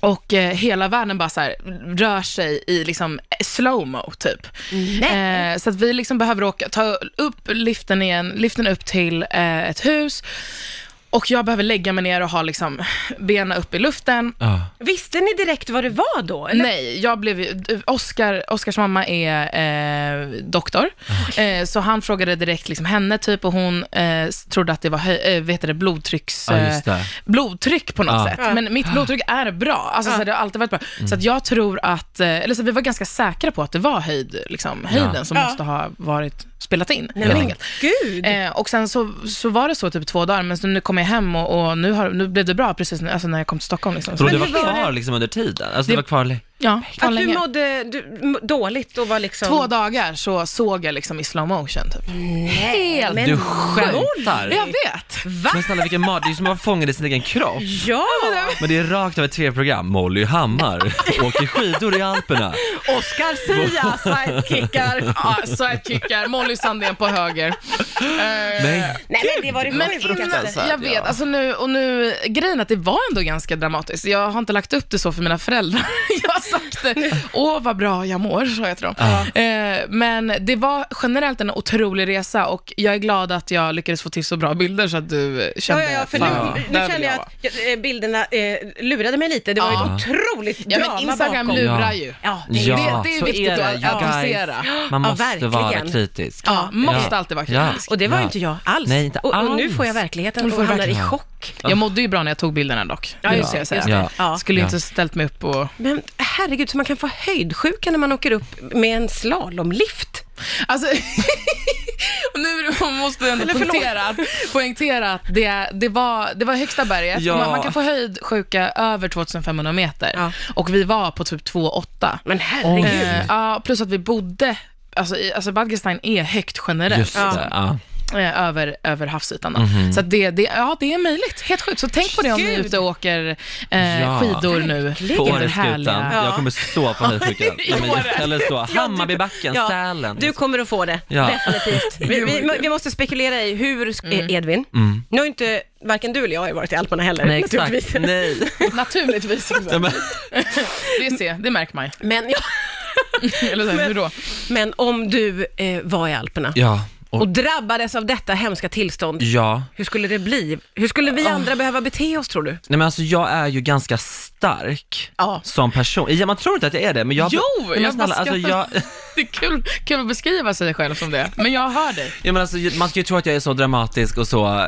[SPEAKER 3] och eh, hela världen bara så här, rör sig i liksom slowmo typ. Eh, så att vi liksom behöver åka, ta upp liften igen, liften upp till eh, ett hus och jag behöver lägga mig ner och ha liksom benen upp i luften.
[SPEAKER 2] Ja.
[SPEAKER 1] Visste ni direkt vad det var då? Eller?
[SPEAKER 3] Nej, jag blev ju- Oscar, Oscars mamma är eh, doktor, eh, så han frågade direkt liksom henne typ och hon eh, trodde att det var hö- eh, vet du det, blodtrycks,
[SPEAKER 2] Ja, just det.
[SPEAKER 3] eh, blodtryck på något
[SPEAKER 2] Ja. Mm.
[SPEAKER 3] sätt. Men mitt blodtryck är bra, alltså, så här, det har alltid varit bra. Så att jag tror att, eh, eller så vi var ganska säkra på att det var höjd, liksom, höjden som
[SPEAKER 1] Ja.
[SPEAKER 3] måste ha varit, spelat in.
[SPEAKER 1] Nej,
[SPEAKER 3] helt
[SPEAKER 1] men
[SPEAKER 3] enkelt.
[SPEAKER 1] gud.
[SPEAKER 3] Eh, och sen så, så var det så typ två dagar, men så nu kom jag hem och, och nu, har, nu blev det bra precis när, alltså när jag kom till Stockholm. Liksom.
[SPEAKER 2] Tror du det var
[SPEAKER 1] Men hur var
[SPEAKER 2] kvar
[SPEAKER 1] det?
[SPEAKER 2] liksom under tiden? Alltså det
[SPEAKER 3] Det-
[SPEAKER 2] var kvar... li-
[SPEAKER 3] ja, fan
[SPEAKER 1] Att du
[SPEAKER 3] länge.
[SPEAKER 1] mådde du, m- dåligt och var liksom... Mm.
[SPEAKER 3] Två dagar så såg jag liksom i slow motion typ.
[SPEAKER 1] Helt. Men,
[SPEAKER 2] Du skämtar!
[SPEAKER 3] Jag vet!
[SPEAKER 1] va?
[SPEAKER 2] Men snälla vilken mardröm, det är som att vara fångad i sin egen kropp.
[SPEAKER 1] Ja!
[SPEAKER 2] Men det är rakt av ett tv-program. Molly Hammar åker skidor i Alperna.
[SPEAKER 1] Oscar Sia, sidekickar.
[SPEAKER 3] Ja, sidekickar, Molly Sandén på höger.
[SPEAKER 2] Men
[SPEAKER 1] Nej men det var det
[SPEAKER 3] Men
[SPEAKER 1] sjukaste.
[SPEAKER 3] innan,
[SPEAKER 2] fruktansvärt,
[SPEAKER 3] jag vet,
[SPEAKER 2] ja.
[SPEAKER 3] alltså nu, och nu, grejen är att det var ändå ganska dramatiskt. Jag har inte lagt upp det så för mina föräldrar. Jag har sagt det, åh vad bra jag mår, sa jag till dem. Eh, men det var generellt en otrolig resa och jag är glad att jag lyckades få till så bra bilder så att du
[SPEAKER 1] Ja,
[SPEAKER 3] kände,
[SPEAKER 1] ja, ja, för nu,
[SPEAKER 3] fan,
[SPEAKER 1] nu
[SPEAKER 3] där vill
[SPEAKER 1] känner jag
[SPEAKER 3] vara.
[SPEAKER 1] att eh, bilderna eh, lurade mig lite. Det var
[SPEAKER 3] Ja.
[SPEAKER 1] ju ett otroligt
[SPEAKER 3] Ja,
[SPEAKER 1] drama
[SPEAKER 3] men Instagram
[SPEAKER 1] bakom.
[SPEAKER 3] lurar
[SPEAKER 2] Ja.
[SPEAKER 3] ju.
[SPEAKER 1] Ja, det är
[SPEAKER 2] ja,
[SPEAKER 1] det.
[SPEAKER 3] det är
[SPEAKER 2] så
[SPEAKER 3] viktigt
[SPEAKER 2] det,
[SPEAKER 3] att
[SPEAKER 2] you guys.
[SPEAKER 3] applicera.
[SPEAKER 2] Man
[SPEAKER 1] Ja,
[SPEAKER 2] måste vara
[SPEAKER 1] verkligen.
[SPEAKER 2] kritisk.
[SPEAKER 3] Ja, måste alltid vara
[SPEAKER 2] Ja.
[SPEAKER 3] kritisk.
[SPEAKER 1] Och det var ju
[SPEAKER 2] Ja.
[SPEAKER 1] inte jag alls.
[SPEAKER 2] Nej, inte
[SPEAKER 1] och, och nu
[SPEAKER 2] alls.
[SPEAKER 1] får jag verkligheten
[SPEAKER 3] Nu
[SPEAKER 1] och
[SPEAKER 3] får du
[SPEAKER 1] hamnar i
[SPEAKER 2] verkligen-
[SPEAKER 1] chock.
[SPEAKER 3] Jag mådde ju bra när jag tog bilderna dock.
[SPEAKER 1] Ja, just
[SPEAKER 3] Det
[SPEAKER 1] det,
[SPEAKER 3] ska jag
[SPEAKER 1] just
[SPEAKER 3] säga.
[SPEAKER 1] det. Ja.
[SPEAKER 3] Skulle ju
[SPEAKER 2] Ja.
[SPEAKER 3] inte ställt mig upp och...
[SPEAKER 1] Men herregud, så man kan få höjdsjuka när man åker upp med en slalomlift?
[SPEAKER 3] Alltså, och nu måste jag ändå
[SPEAKER 1] Eller förlåt.
[SPEAKER 3] poängtera, att- poängtera att det, det, var, det var högsta berget.
[SPEAKER 2] Ja.
[SPEAKER 3] Man, man kan få höjdsjuka över 2500 meter.
[SPEAKER 1] Ja.
[SPEAKER 3] Och vi var på typ 2,8.
[SPEAKER 1] Men herregud.
[SPEAKER 3] Eh, ja, plus att vi bodde, alltså, i, alltså Badgestein är högt generellt.
[SPEAKER 2] Just Mhm. det, ja.
[SPEAKER 3] eh, över, över havsytan. Då. Så att det, det, ja, det är möjligt. Helt sjukt. Så tänk på det om ni är
[SPEAKER 1] Gud.
[SPEAKER 3] ute och åker eh,
[SPEAKER 2] Ja.
[SPEAKER 3] skidor nu.
[SPEAKER 2] På
[SPEAKER 3] över
[SPEAKER 2] Åreskutan.
[SPEAKER 3] härliga-
[SPEAKER 2] Jag kommer så få höjdsjuka. Nej, men-
[SPEAKER 3] Åre.
[SPEAKER 2] Eller så, Hammarbybacken,
[SPEAKER 1] Ja,
[SPEAKER 2] Sälen.
[SPEAKER 1] Du kommer att få det,
[SPEAKER 2] Ja.
[SPEAKER 1] definitivt. Vi, vi, vi måste spekulera i hur, sk-
[SPEAKER 2] Mm.
[SPEAKER 1] Edvin, nu har ju inte varken du eller jag har ju varit i Alperna heller
[SPEAKER 2] Nej,
[SPEAKER 1] naturligtvis.
[SPEAKER 2] exakt. Nej.
[SPEAKER 3] Naturligtvis.
[SPEAKER 2] Ja, men-
[SPEAKER 3] Det ser, det märker man ju.
[SPEAKER 1] Men, ja,
[SPEAKER 3] Eller så, här, hur då?
[SPEAKER 1] men om du eh, var i Alperna
[SPEAKER 2] Ja, och
[SPEAKER 1] och drabbades av detta hemska tillstånd,
[SPEAKER 2] ja. Ah.
[SPEAKER 1] hur skulle det bli? Hur skulle vi andra behöva bete oss tror du?
[SPEAKER 2] Nej men alltså jag är ju ganska stark
[SPEAKER 1] Ja.
[SPEAKER 2] som person. Ja, man tror inte att jag är det, men jag...
[SPEAKER 3] Jo,
[SPEAKER 2] Nej, men
[SPEAKER 3] jag
[SPEAKER 2] snälla,
[SPEAKER 3] bara
[SPEAKER 2] alltså, jag,
[SPEAKER 3] skrattar. Det är kul, kul att beskriva sig själv som det, men jag hör dig.
[SPEAKER 2] ja, men alltså, Man ska ju tro att jag är så dramatisk och så eh,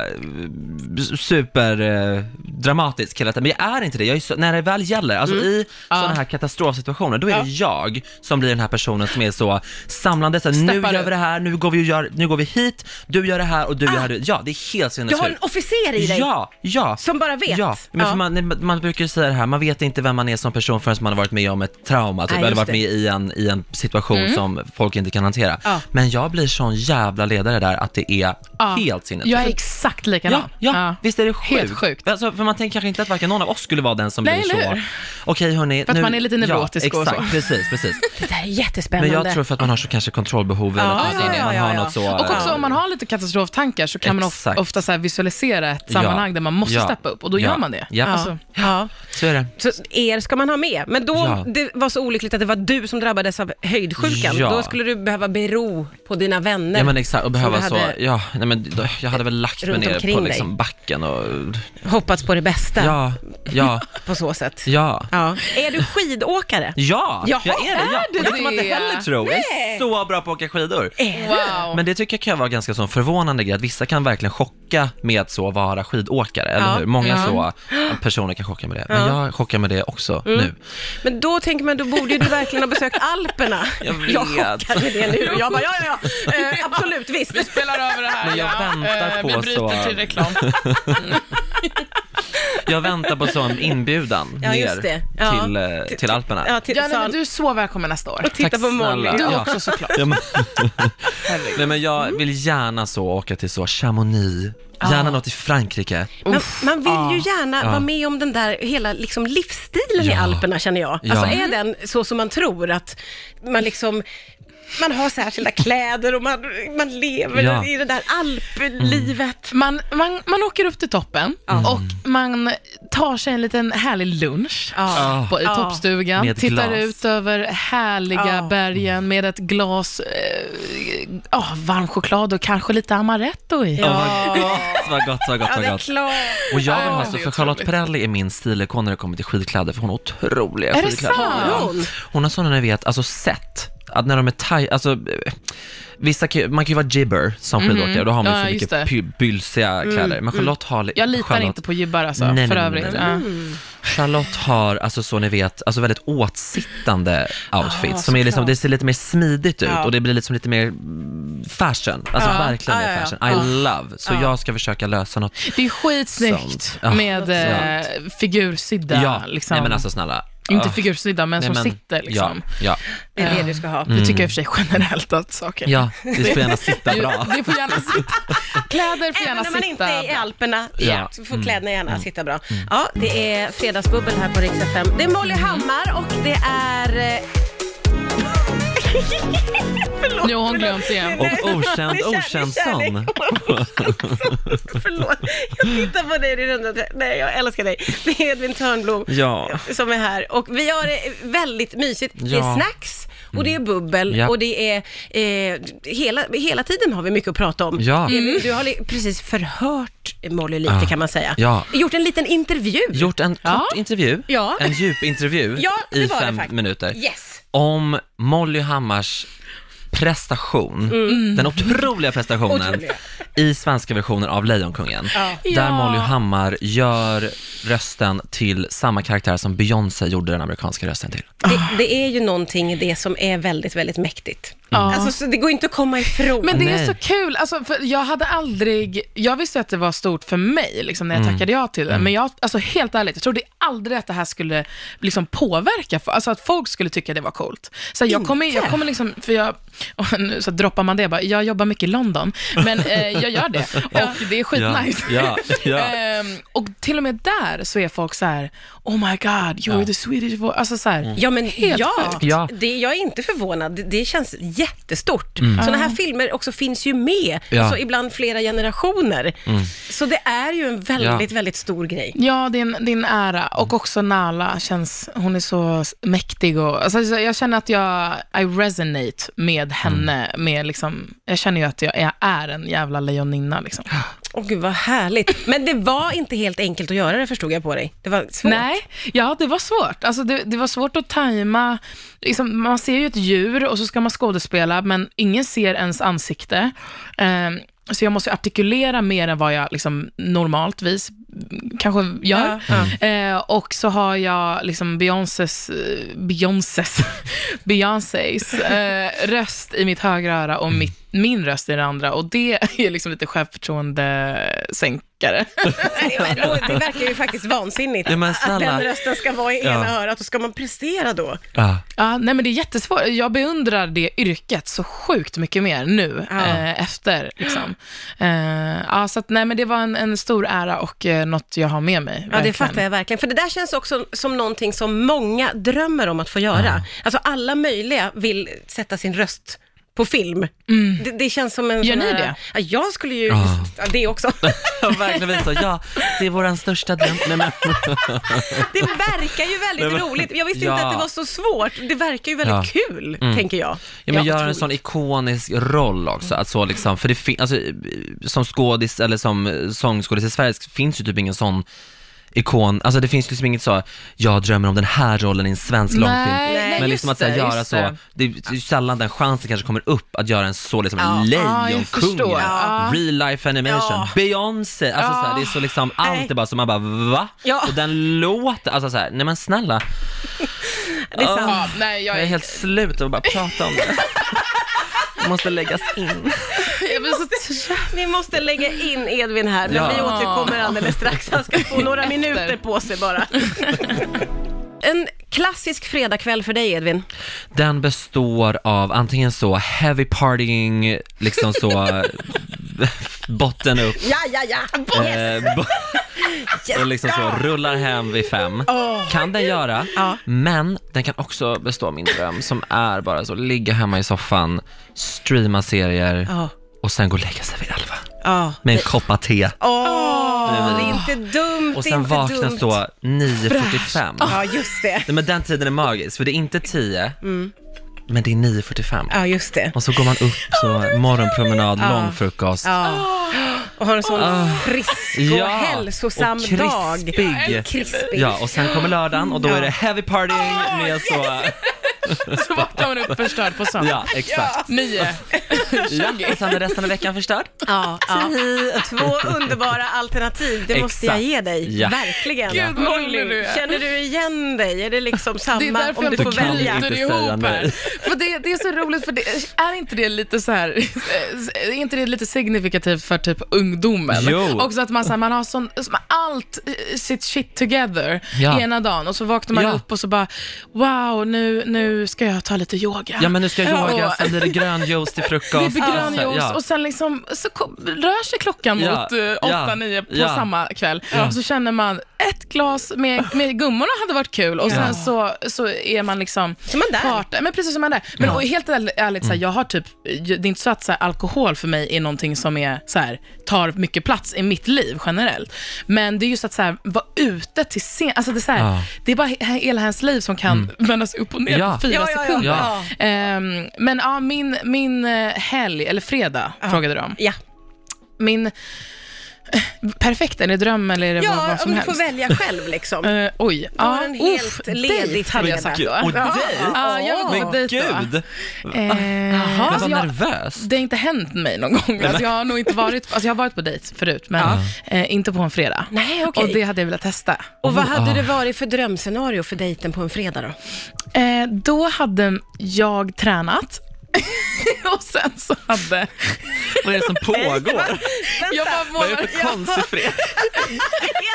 [SPEAKER 2] super eh, dramatisk hela tiden, men jag är inte det. Jag är så, när det väl gäller, alltså i sådana här katastrofsituationer, då är det jag som blir den här personen som är så samlande, så här, nu
[SPEAKER 3] Steppar
[SPEAKER 2] gör
[SPEAKER 3] upp.
[SPEAKER 2] vi det här, nu går vi och gör, nu går vi hit, du gör det här och du gör det här. Ja, det är helt
[SPEAKER 1] Du
[SPEAKER 2] sinnessjukt.
[SPEAKER 1] har en officer i dig.
[SPEAKER 2] Ja, ja.
[SPEAKER 1] Som bara vet.
[SPEAKER 2] Ja, men
[SPEAKER 1] Ja.
[SPEAKER 2] För man, man brukar ju säga det här, man vet inte vem man är som person förrän man har varit med om ett trauma, typ,
[SPEAKER 1] Nej,
[SPEAKER 2] eller
[SPEAKER 1] just
[SPEAKER 2] varit
[SPEAKER 1] det.
[SPEAKER 2] med i en, i en situation
[SPEAKER 3] Mm.
[SPEAKER 2] som folk inte kan hantera.
[SPEAKER 1] Ja.
[SPEAKER 2] Men jag blir sån jävla ledare där att det är
[SPEAKER 3] Ja.
[SPEAKER 2] helt sinnessjukt.
[SPEAKER 3] Jag är exakt likadan.
[SPEAKER 2] Ja, ja, visst är det sjukt?
[SPEAKER 3] Helt sjukt.
[SPEAKER 2] Alltså, för man tänker kanske inte att varken någon av oss skulle vara den som
[SPEAKER 3] Nej,
[SPEAKER 2] blir
[SPEAKER 3] eller
[SPEAKER 2] så.
[SPEAKER 3] hur?
[SPEAKER 2] Okej hörni.
[SPEAKER 3] För att man är lite neurotisk
[SPEAKER 2] ja,
[SPEAKER 3] och så.
[SPEAKER 2] exakt, Precis, precis.
[SPEAKER 1] Det där är
[SPEAKER 2] Men
[SPEAKER 1] jättespännande.
[SPEAKER 2] jag tror för att man har så kanske kontrollbehov eller
[SPEAKER 1] Ja,
[SPEAKER 2] något
[SPEAKER 1] ja,
[SPEAKER 2] sånt.
[SPEAKER 1] ja,
[SPEAKER 2] man
[SPEAKER 1] ja,
[SPEAKER 2] har
[SPEAKER 1] ja.
[SPEAKER 2] något så.
[SPEAKER 3] Och också
[SPEAKER 2] eh,
[SPEAKER 3] om man har lite katastroftankar så kan man of-
[SPEAKER 2] Exakt.
[SPEAKER 3] ofta så här visualisera ett sammanhang där man måste
[SPEAKER 2] Ja.
[SPEAKER 3] steppa upp och då
[SPEAKER 2] Ja.
[SPEAKER 3] gör man det.
[SPEAKER 2] Ja.
[SPEAKER 3] Alltså,
[SPEAKER 1] ja.
[SPEAKER 2] Så är det.
[SPEAKER 1] Så er ska man ha med. Men då
[SPEAKER 2] Ja.
[SPEAKER 1] det var så olyckligt att det var du som drabbades av höjdsjukan.
[SPEAKER 2] Ja.
[SPEAKER 1] Då skulle du behöva bero på dina vänner.
[SPEAKER 2] Ja men exakt, och
[SPEAKER 1] som
[SPEAKER 2] behöva
[SPEAKER 1] du
[SPEAKER 2] så,
[SPEAKER 1] hade
[SPEAKER 2] ja, nej men då- jag hade väl lagt mig
[SPEAKER 1] Runt
[SPEAKER 2] ner
[SPEAKER 1] omkring
[SPEAKER 2] på
[SPEAKER 1] dig.
[SPEAKER 2] liksom backen och,
[SPEAKER 1] hoppats på det bästa
[SPEAKER 2] ja, ja,
[SPEAKER 1] på så sätt.
[SPEAKER 2] ja.
[SPEAKER 1] Ja. Är du skidåkare?
[SPEAKER 2] Ja,
[SPEAKER 1] Jaha,
[SPEAKER 2] jag är det. Ja.
[SPEAKER 3] är
[SPEAKER 2] Och det
[SPEAKER 3] du
[SPEAKER 2] kan man inte
[SPEAKER 3] det?
[SPEAKER 2] heller tro. Jag är så bra på att åka skidor.
[SPEAKER 1] Eh.
[SPEAKER 3] wow.
[SPEAKER 2] Men det tycker jag kan vara ganska sån förvånande grej, att vissa kan verkligen chocka med att så vara skidåkare, eller
[SPEAKER 1] Ja.
[SPEAKER 2] hur? Många
[SPEAKER 3] Ja.
[SPEAKER 2] så personer kan chocka med det, men jag chockar med det också
[SPEAKER 1] Mm.
[SPEAKER 2] nu.
[SPEAKER 1] Men då tänker man, då borde ju du verkligen ha besökt Alperna.
[SPEAKER 2] Jag vet.
[SPEAKER 1] jag chockar med det nu. Jag bara, ja, ja, ja. Eh, absolut, visst.
[SPEAKER 3] Vi spelar över det här.
[SPEAKER 2] Men jag väntar
[SPEAKER 3] Eh,
[SPEAKER 2] på
[SPEAKER 3] Vi bryter
[SPEAKER 2] så-
[SPEAKER 3] till reklam.
[SPEAKER 2] Jag väntar på sån inbjudan
[SPEAKER 1] Ja, just
[SPEAKER 2] ner
[SPEAKER 1] det. Ja.
[SPEAKER 2] till, eh, till Alperna.
[SPEAKER 1] Ja, till,
[SPEAKER 3] Ja, nej,
[SPEAKER 1] sa-
[SPEAKER 3] men du är så välkommen nästa år.
[SPEAKER 1] och titta
[SPEAKER 2] Tack
[SPEAKER 1] på Molly.
[SPEAKER 2] snälla.
[SPEAKER 3] Du
[SPEAKER 2] Ja.
[SPEAKER 3] också såklart. Mm.
[SPEAKER 2] Ja, men... Nej, men jag vill gärna så åka till så Chamonix, gärna något i Frankrike.
[SPEAKER 1] Man, man vill ju gärna
[SPEAKER 2] Ja.
[SPEAKER 1] vara med om den där hela liksom, livsstilen i
[SPEAKER 2] Ja.
[SPEAKER 1] Alperna känner jag.
[SPEAKER 2] Ja.
[SPEAKER 1] Alltså är den så som man tror att man liksom man har särskilda kläder och man, man lever
[SPEAKER 2] Ja. Mm.
[SPEAKER 1] i det där alplivet.
[SPEAKER 3] Man, man, man åker upp till toppen och man tar sig en liten härlig lunch
[SPEAKER 1] Ja.
[SPEAKER 3] på, i
[SPEAKER 1] Ja.
[SPEAKER 3] toppstugan,
[SPEAKER 2] Ah. Med
[SPEAKER 3] tittar
[SPEAKER 2] glas.
[SPEAKER 3] ut över härliga
[SPEAKER 1] Ja.
[SPEAKER 3] bergen med ett glas eh, ah, varm choklad och kanske lite amaretto i.
[SPEAKER 2] Åh, vad gott, vad gott, vad gott,
[SPEAKER 1] Ja, det
[SPEAKER 2] vad
[SPEAKER 1] är
[SPEAKER 2] gott.
[SPEAKER 1] klart.
[SPEAKER 2] Och jag vill
[SPEAKER 3] Ja,
[SPEAKER 2] ha
[SPEAKER 3] det
[SPEAKER 2] så,
[SPEAKER 3] är
[SPEAKER 2] för Charlotte
[SPEAKER 3] otroligt.
[SPEAKER 2] Perrelli är min stilikon när det kommer till skidkläder, för hon har otroliga
[SPEAKER 3] Är det
[SPEAKER 2] skidkläder.
[SPEAKER 3] sant?
[SPEAKER 1] Hon?
[SPEAKER 2] Hon har sådana, ni vet, alltså sett, att när de är taj, alltså eh, Vissa, kan ju- man kan ju vara jibber som skidåkare, då har man ju
[SPEAKER 3] Mhm. Ja,
[SPEAKER 2] så
[SPEAKER 3] just
[SPEAKER 2] mycket
[SPEAKER 3] det. Mm,
[SPEAKER 2] py- bylsiga kläder. Men Charlotte har... li-
[SPEAKER 3] Jag litar
[SPEAKER 2] Charlotte-
[SPEAKER 3] inte på gibbar alltså,
[SPEAKER 2] Nej, nej,
[SPEAKER 3] för
[SPEAKER 2] nej,
[SPEAKER 3] övrigt.
[SPEAKER 2] nej, nej. Charlotte har, alltså så ni vet, alltså väldigt åtsittande outfits. som är liksom,
[SPEAKER 1] såklart.
[SPEAKER 2] det ser lite mer smidigt ut
[SPEAKER 1] Ja.
[SPEAKER 2] och det blir liksom lite mer mm, fashion. Alltså
[SPEAKER 1] Ja.
[SPEAKER 2] verkligen
[SPEAKER 1] Ja,
[SPEAKER 2] mer
[SPEAKER 1] ja, ja.
[SPEAKER 2] fashion. I love. Så jag ska försöka lösa något.
[SPEAKER 3] Ja. Det är skitsnyggt
[SPEAKER 2] Sånt. Ja.
[SPEAKER 3] med eh, figursydda,
[SPEAKER 2] Ah, ja,
[SPEAKER 3] liksom.
[SPEAKER 2] nej men alltså snälla.
[SPEAKER 3] inte
[SPEAKER 2] Ah,
[SPEAKER 3] figursydda, men
[SPEAKER 2] nej,
[SPEAKER 3] som
[SPEAKER 2] men-
[SPEAKER 3] sitter liksom.
[SPEAKER 2] Ja, Mm.
[SPEAKER 1] Det är det du ska ha.
[SPEAKER 3] Det tycker jag i och för sig generellt att saker...
[SPEAKER 2] ja, ja det får gärna sitta
[SPEAKER 3] Du-
[SPEAKER 2] bra.
[SPEAKER 3] Det får gärna sitta. Kläder får gärna
[SPEAKER 1] Även om man inte
[SPEAKER 3] sitta.
[SPEAKER 1] är i Alperna
[SPEAKER 2] Ja. Mm.
[SPEAKER 1] så får kläderna gärna sitta bra. Ja, det är fredagsbubbel här på Rix FM. Det är Molly
[SPEAKER 3] Mm.
[SPEAKER 1] Hammar och det är... eh, förlåt,
[SPEAKER 3] Nu har hon
[SPEAKER 1] förlåt.
[SPEAKER 3] glömt igen.
[SPEAKER 2] Och
[SPEAKER 1] Nej,
[SPEAKER 2] okänd
[SPEAKER 1] det är kär- det är
[SPEAKER 2] Okändsson.
[SPEAKER 1] kärlek. Förlåt, jag tittar på dig. Det är ändå- Nej, jag älskar dig. Det är Edvin Törnblom
[SPEAKER 2] Ja.
[SPEAKER 1] som är här. Och vi har det väldigt mysigt. Det är
[SPEAKER 2] Ja. Mm.
[SPEAKER 1] snacks och det är bubbel
[SPEAKER 2] Ja.
[SPEAKER 1] och det är... Eh, hela, hela tiden har vi mycket att prata om.
[SPEAKER 2] Ja.
[SPEAKER 1] Mm. Du har li- precis förhört Molly lite
[SPEAKER 2] Ja.
[SPEAKER 1] kan man säga.
[SPEAKER 2] Ja.
[SPEAKER 1] Gjort en liten intervju.
[SPEAKER 2] Gjort en kort intervju,
[SPEAKER 1] Ja.
[SPEAKER 2] en djupintervju
[SPEAKER 1] Ja, det
[SPEAKER 2] i
[SPEAKER 1] var det
[SPEAKER 2] fem
[SPEAKER 1] faktiskt.
[SPEAKER 2] minuter.
[SPEAKER 1] Yes.
[SPEAKER 2] om Molly Hammars prestation, den otroliga prestationen
[SPEAKER 1] Mm. Otroliga.
[SPEAKER 2] i svenska versionen av Lejonkungen.
[SPEAKER 1] Ja.
[SPEAKER 2] Där
[SPEAKER 3] Ja.
[SPEAKER 2] Molly Hammar gör rösten till samma karaktär som Beyoncé gjorde den amerikanska rösten till.
[SPEAKER 1] Det, det är ju någonting i det som är väldigt, väldigt mäktigt.
[SPEAKER 3] Ja.
[SPEAKER 1] Alltså, så det går inte att komma ifrån.
[SPEAKER 3] Mm. Men det är
[SPEAKER 2] Nej.
[SPEAKER 3] så kul, alltså, för jag hade aldrig, jag visste att det var stort för mig liksom, när jag
[SPEAKER 2] Mm.
[SPEAKER 3] tackade ja till det, men jag, alltså, helt ärligt, jag trodde aldrig att det här skulle liksom, påverka, för, alltså att folk skulle tycka det var coolt. Så jag kommer, jag kommer liksom, för jag, och nu så droppar man det bara, jag jobbar mycket i London, men eh, jag gör det och det är skitnice.
[SPEAKER 2] Ja, ja, ja.
[SPEAKER 3] Ehm, och till och med där så är folk så här, oh my god, you're the Swedish voice, alltså så här,
[SPEAKER 2] Mm.
[SPEAKER 1] Ja, men
[SPEAKER 3] Helt
[SPEAKER 1] ja.
[SPEAKER 3] sjukt.
[SPEAKER 2] Ja.
[SPEAKER 1] Det, jag är inte förvånad. Det, det känns jättestort. Sådana här filmer också finns ju med,
[SPEAKER 2] Mm. Ja. Mm.
[SPEAKER 1] alltså ibland flera generationer. Så det är ju en väldigt, väldigt stor grej.
[SPEAKER 3] Ja, din, din ära. Och också Nala känns, hon är så mäktig och, alltså, så jag känner att jag, I resonate med henne, med liksom, jag känner ju att jag, jag är en jävla lejoninna liksom.
[SPEAKER 1] Åh gud, vad härligt. Men det var inte helt enkelt att göra det, förstod jag på dig. Det var svårt.
[SPEAKER 3] Nej, ja det var svårt. Alltså, det, det var svårt att tajma, liksom, man ser ju ett djur och så ska man skådespela, men ingen ser ens ansikte. Ehm, Så jag måste ju artikulera mer än vad jag liksom normaltvis kanske gör. Eh, och så har jag liksom Beyoncés, eh, Beyoncés, Beyoncés eh, röst i mitt högra öra och mitt, min röst i det andra. Och det är liksom lite självförtroendesänkare.
[SPEAKER 1] Nej, men då- Det verkar ju faktiskt vansinnigt
[SPEAKER 2] Ja, men
[SPEAKER 1] att
[SPEAKER 2] snälla.
[SPEAKER 1] den rösten ska vara i
[SPEAKER 2] Ja.
[SPEAKER 1] ena örat och ska man prestera då?
[SPEAKER 2] Ja.
[SPEAKER 3] Ja, nej men det är jättesvårt. Jag beundrar det yrket så sjukt mycket mer nu
[SPEAKER 1] Ja.
[SPEAKER 3] eh, efter. Liksom. Eh, ja, så att, nej, men det var en, en stor ära och eh, något jag har med mig.
[SPEAKER 1] Ja, det
[SPEAKER 3] verkligen.
[SPEAKER 1] fattar jag verkligen. För det där känns också som någonting som många drömmer om att få göra. Alltså alla möjliga vill sätta sin röst på film. Det, det känns som en
[SPEAKER 3] Mm. Gör
[SPEAKER 1] sån
[SPEAKER 3] ni
[SPEAKER 1] här,
[SPEAKER 3] det?
[SPEAKER 1] Ja, jag skulle ju...
[SPEAKER 2] Ja.
[SPEAKER 1] Ja, det också.
[SPEAKER 2] Ja, verkligen visa. Ja, det är våran största dröm. Nej, men,
[SPEAKER 1] Det verkar ju väldigt
[SPEAKER 2] Nej, men-
[SPEAKER 1] roligt. Jag visste inte
[SPEAKER 2] Ja. Mm.
[SPEAKER 1] att det var så svårt. Det verkar ju väldigt kul, tänker jag.
[SPEAKER 2] ja, men
[SPEAKER 1] Ja,
[SPEAKER 2] gör en sån ikonisk roll också, att så liksom, för det finns, alltså, som skådis eller som eh, sångskådis i Sverige finns ju typ ingen sån ikon, alltså det finns liksom inget så, jag drömmer om den här rollen i en svensk långfilm.
[SPEAKER 3] Nej, nej,
[SPEAKER 2] Men
[SPEAKER 3] just
[SPEAKER 2] liksom att så
[SPEAKER 3] det,
[SPEAKER 2] här, göra
[SPEAKER 3] just
[SPEAKER 2] så,
[SPEAKER 3] det.
[SPEAKER 2] det är ju sällan den chansen kanske kommer upp att göra en så liksom
[SPEAKER 1] Ja.
[SPEAKER 3] Ja, jag
[SPEAKER 2] lejonkungen,
[SPEAKER 3] förstår. Ja.
[SPEAKER 2] real life animation,
[SPEAKER 1] Ja.
[SPEAKER 2] Beyoncé, alltså
[SPEAKER 3] Ja.
[SPEAKER 2] så här, det är så liksom,
[SPEAKER 1] Nej.
[SPEAKER 2] allt är bara så man bara va?
[SPEAKER 1] Ja.
[SPEAKER 2] Och den låter, alltså så här, nej men snälla,
[SPEAKER 1] Det är sant.
[SPEAKER 3] Ja, nej, jag,
[SPEAKER 2] jag är helt slut av att bara prata om det. Det måste läggas in.
[SPEAKER 3] jag blir så trött.
[SPEAKER 1] Vi måste lägga in Edvin här, men
[SPEAKER 2] Ja.
[SPEAKER 1] vi återkommer alldeles strax. Han ska få några minuter på sig bara. En klassisk fredagkväll för dig Edvin.
[SPEAKER 2] Den består av antingen så heavy partying, liksom så botten upp,
[SPEAKER 1] Ja, ja, ja.
[SPEAKER 2] eh, bo- och liksom så rullar hem vid fem. kan den göra, men den kan också bestå av min dröm som är bara så ligga hemma i soffan, streama serier
[SPEAKER 1] Ja.
[SPEAKER 2] och sen gå och lägga sig vid elva
[SPEAKER 1] Ja.
[SPEAKER 2] med en koppa te
[SPEAKER 1] Åh, det är
[SPEAKER 2] Bredvid.
[SPEAKER 1] inte dumt.
[SPEAKER 2] och
[SPEAKER 1] det är
[SPEAKER 2] sen
[SPEAKER 1] inte
[SPEAKER 2] vakna
[SPEAKER 1] dumt.
[SPEAKER 2] så 9.45.
[SPEAKER 1] Ja, just det.
[SPEAKER 2] Nej men den tiden är magisk, för det är inte 10, men det är 9.45.
[SPEAKER 1] Ja, just det.
[SPEAKER 2] Och så går man upp, så morgonpromenad, lång frukost.
[SPEAKER 1] Ja. Och har en sån frisk och hälsosam
[SPEAKER 2] Ah. och
[SPEAKER 1] dag.
[SPEAKER 2] krispig.
[SPEAKER 1] Krispig.
[SPEAKER 2] Ja, och sen kommer lördagen och då
[SPEAKER 1] Ja.
[SPEAKER 2] är det heavy partying
[SPEAKER 3] Ah,
[SPEAKER 2] med så...
[SPEAKER 3] Så vaknar man upp förstörd på söndag.
[SPEAKER 2] Ja, exakt.
[SPEAKER 3] Nio.
[SPEAKER 2] Ja. Och sen är resten av veckan förstörd.
[SPEAKER 1] Ja, ja. Två underbara alternativ, det måste
[SPEAKER 2] Exakt.
[SPEAKER 1] jag ge dig.
[SPEAKER 2] Ja.
[SPEAKER 1] Verkligen.
[SPEAKER 3] Gud, vad
[SPEAKER 1] Molly,
[SPEAKER 3] rolig du är.
[SPEAKER 1] känner du igen dig? Är det liksom
[SPEAKER 3] Det är
[SPEAKER 1] samma
[SPEAKER 3] därför
[SPEAKER 1] om du
[SPEAKER 3] jag
[SPEAKER 1] får
[SPEAKER 2] inte kan
[SPEAKER 1] välja?
[SPEAKER 2] inte
[SPEAKER 3] bryter
[SPEAKER 2] säga
[SPEAKER 3] ihop här.
[SPEAKER 2] nej.
[SPEAKER 3] För det, det är så roligt, för det, är inte det lite så här, eh, är inte det lite signifikativt för typ ungdomen?
[SPEAKER 2] Jo.
[SPEAKER 3] Också att man, så här, man har sån, så man- allt eh, sitt shit together
[SPEAKER 2] Ja.
[SPEAKER 3] ena dagen och så vaknar man
[SPEAKER 2] Ja.
[SPEAKER 3] upp och så bara, wow, nu, nu ska jag ta lite yoga.
[SPEAKER 2] Ja men nu ska jag
[SPEAKER 3] Ja,
[SPEAKER 2] yoga,
[SPEAKER 3] och-
[SPEAKER 2] sen blir det grön juice till frukost.
[SPEAKER 1] Alltså,
[SPEAKER 3] det blir grön
[SPEAKER 2] Och sen-
[SPEAKER 3] juice
[SPEAKER 2] Alltså, ja.
[SPEAKER 3] och sen liksom, så ko- rör sig klockan
[SPEAKER 2] Ja,
[SPEAKER 3] mot eh, åtta,
[SPEAKER 2] ja,
[SPEAKER 3] nio på
[SPEAKER 2] ja.
[SPEAKER 3] samma kväll. Och så känner man, ett glas med, med gummorna hade varit kul och sen
[SPEAKER 2] Ja.
[SPEAKER 3] så, så är man liksom
[SPEAKER 1] Så man där.
[SPEAKER 3] part- Men precis som man är. Men och helt äl- ärligt,
[SPEAKER 2] Mm.
[SPEAKER 3] så här, jag har typ, det är inte så att så här, alkohol för mig är någonting som är, så här, tar mycket plats i mitt liv generellt. Men det är just att så här, vara ute till sen, alltså det är så här,
[SPEAKER 2] Ja. Mm.
[SPEAKER 3] det är bara he- hela hans liv som kan vändas upp och ner
[SPEAKER 2] Ja.
[SPEAKER 3] på fyra
[SPEAKER 1] Ja, ja, ja.
[SPEAKER 3] sekunder.
[SPEAKER 2] Ja.
[SPEAKER 3] Ehm, men ja, min, min eh, helg, eller fredag, frågade de.
[SPEAKER 1] Ja,
[SPEAKER 3] Min eh, perfekt, är det dröm eller är det vad,
[SPEAKER 1] ja
[SPEAKER 3] vad
[SPEAKER 1] om
[SPEAKER 3] som
[SPEAKER 1] du
[SPEAKER 3] helst?
[SPEAKER 1] får välja själv liksom.
[SPEAKER 3] Eh, oj.
[SPEAKER 1] Du har en helt
[SPEAKER 3] uff,
[SPEAKER 1] ledig
[SPEAKER 3] dejt hade jag
[SPEAKER 1] fredag.
[SPEAKER 3] sagt då.
[SPEAKER 2] Och
[SPEAKER 3] Ja.
[SPEAKER 2] dejt?
[SPEAKER 3] Ja, jag vill gå på
[SPEAKER 2] Men
[SPEAKER 3] dejt då.
[SPEAKER 2] gud!
[SPEAKER 3] Eh,
[SPEAKER 2] Jag
[SPEAKER 3] alltså
[SPEAKER 2] var
[SPEAKER 3] jag-
[SPEAKER 2] nervös.
[SPEAKER 3] Det har inte hänt mig någon gång. Alltså jag har nog inte varit, alltså jag har varit på dejt förut, men eh, inte på en fredag.
[SPEAKER 1] Nej, okej.
[SPEAKER 3] Och det hade jag velat testa.
[SPEAKER 1] Och vad hade det varit för drömscenario för dejten på en fredag då?
[SPEAKER 3] Eh, då hade jag tränat. och sen så hade...
[SPEAKER 2] Vad är det som pågår?
[SPEAKER 3] Jag bara
[SPEAKER 2] Vad
[SPEAKER 3] målar...
[SPEAKER 2] är det för konstig fredag?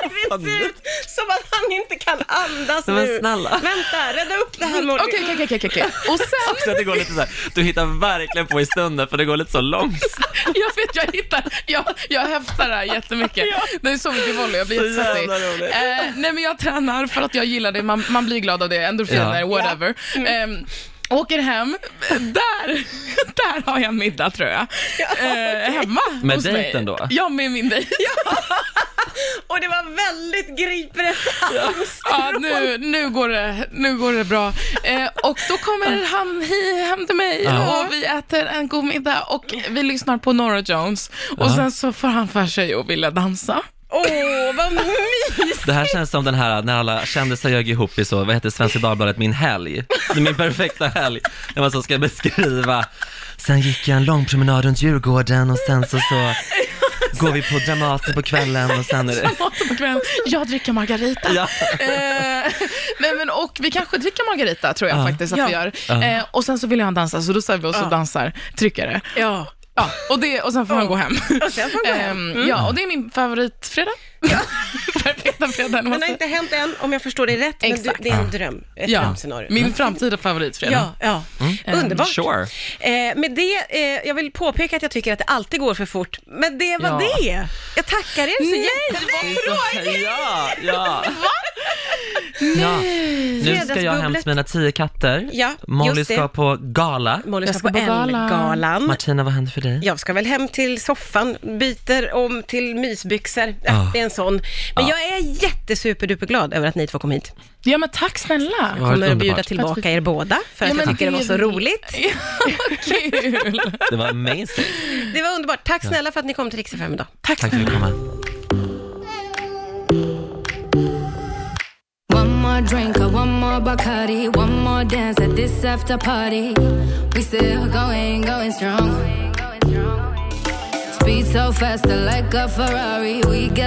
[SPEAKER 1] Edvin ser ut som att han inte kan andas
[SPEAKER 2] Men
[SPEAKER 1] nu.
[SPEAKER 2] snälla.
[SPEAKER 1] Vänta, rädda upp det här Molly.
[SPEAKER 3] Okej, okej, okej, okej, okej. Och sen...
[SPEAKER 2] Så att det går lite så här, du hittar verkligen på i stunden för det går lite så långsamt.
[SPEAKER 3] Jag vet, jag hittar, jag, jag häftar det här jättemycket. Det är så mycket volley, jag blir
[SPEAKER 2] Så
[SPEAKER 3] jättesvettig.
[SPEAKER 2] jävla roligt.
[SPEAKER 3] Eh, nej men jag tränar för att jag gillar det, man, man blir glad av det, endorfiner,
[SPEAKER 2] Ja.
[SPEAKER 3] whatever. Ehm, Åker hem, där, där har jag middag tror jag. Eh, hemma
[SPEAKER 2] Med
[SPEAKER 3] hos mig.
[SPEAKER 2] dejten då?
[SPEAKER 3] Ja, med min dejt.
[SPEAKER 1] Och det var väldigt griper efter halmstrå.
[SPEAKER 3] Ja, nu, nu, går det, nu går det bra. Eh, och då kommer han hi- hem till mig
[SPEAKER 2] Ja.
[SPEAKER 3] och vi äter en god middag och vi lyssnar på Norah Jones. Och
[SPEAKER 2] Ja.
[SPEAKER 3] sen så får han för sig att vilja dansa.
[SPEAKER 1] Åh, vad mysigt!
[SPEAKER 2] Det här känns som den här när alla kändisar ljög ihop i så, vad heter Svenska Dagbladet, min helg. Det är min perfekta helg. När man så ska beskriva. Sen gick jag en lång promenad runt Djurgården och sen så, så går vi på Dramaten på kvällen och sen är det...
[SPEAKER 3] Maten på kvällen. Jag dricker margarita.
[SPEAKER 2] Ja.
[SPEAKER 3] Eh, men, men, och vi kanske dricker margarita, tror jag
[SPEAKER 2] Ja.
[SPEAKER 3] faktiskt att
[SPEAKER 1] Ja.
[SPEAKER 3] vi gör. Eh, och sen så vill han dansa, så då säger vi oss och dansar tryckare.
[SPEAKER 1] Ja.
[SPEAKER 3] Ja, och, det, och sen får han gå hem.
[SPEAKER 1] Och sen får han gå hem. Mm.
[SPEAKER 3] Ehm, Ja, och det är min favoritfredag. Perfekta fredagen.
[SPEAKER 1] Den har inte hänt än, om jag förstår dig rätt, men du,
[SPEAKER 3] Exakt.
[SPEAKER 1] det är en dröm. Ett
[SPEAKER 3] ja,
[SPEAKER 1] drömscenario.
[SPEAKER 3] min framtida favoritfredag.
[SPEAKER 1] Ja, ja. Mm. underbart.
[SPEAKER 2] Sure.
[SPEAKER 1] Eh, med det, eh, jag vill påpeka att jag tycker att det alltid går för fort, men det var
[SPEAKER 2] Ja.
[SPEAKER 1] det. Jag tackar er så jättemycket.
[SPEAKER 2] Ja, ja. ja. Nu ska jag hem till mina tio katter.
[SPEAKER 1] Ja, just
[SPEAKER 2] Molly
[SPEAKER 1] det.
[SPEAKER 2] ska på gala.
[SPEAKER 1] Molly
[SPEAKER 3] Jag
[SPEAKER 1] ska
[SPEAKER 3] ska
[SPEAKER 1] på
[SPEAKER 3] på galan.
[SPEAKER 1] Ellegalan.
[SPEAKER 2] Martina, vad händer för dig?
[SPEAKER 1] Jag ska väl hem till soffan, byter om till mysbyxor. Äh,
[SPEAKER 2] Ah.
[SPEAKER 1] Det är en sån. Men jag är jättesuperduperglad över att ni två kom hit.
[SPEAKER 3] Ja, men tack snälla.
[SPEAKER 2] Ja.
[SPEAKER 1] Kommer att
[SPEAKER 2] underbart.
[SPEAKER 1] bjuda tillbaka er båda, för
[SPEAKER 3] Ja,
[SPEAKER 1] att jag
[SPEAKER 3] men
[SPEAKER 1] tycker det var
[SPEAKER 3] det-
[SPEAKER 1] så roligt.
[SPEAKER 3] Ja, vad kul.
[SPEAKER 2] Det var amazing.
[SPEAKER 1] Det var underbart. Tack snälla för att ni kom till Rix FM idag.
[SPEAKER 3] Tack
[SPEAKER 2] Tack för att
[SPEAKER 3] snälla.
[SPEAKER 2] du kom.
[SPEAKER 5] One more drink, or one more Bacardi, one more dance at this after party. We still going, going strong. Speed so fast, I like a Ferrari. We got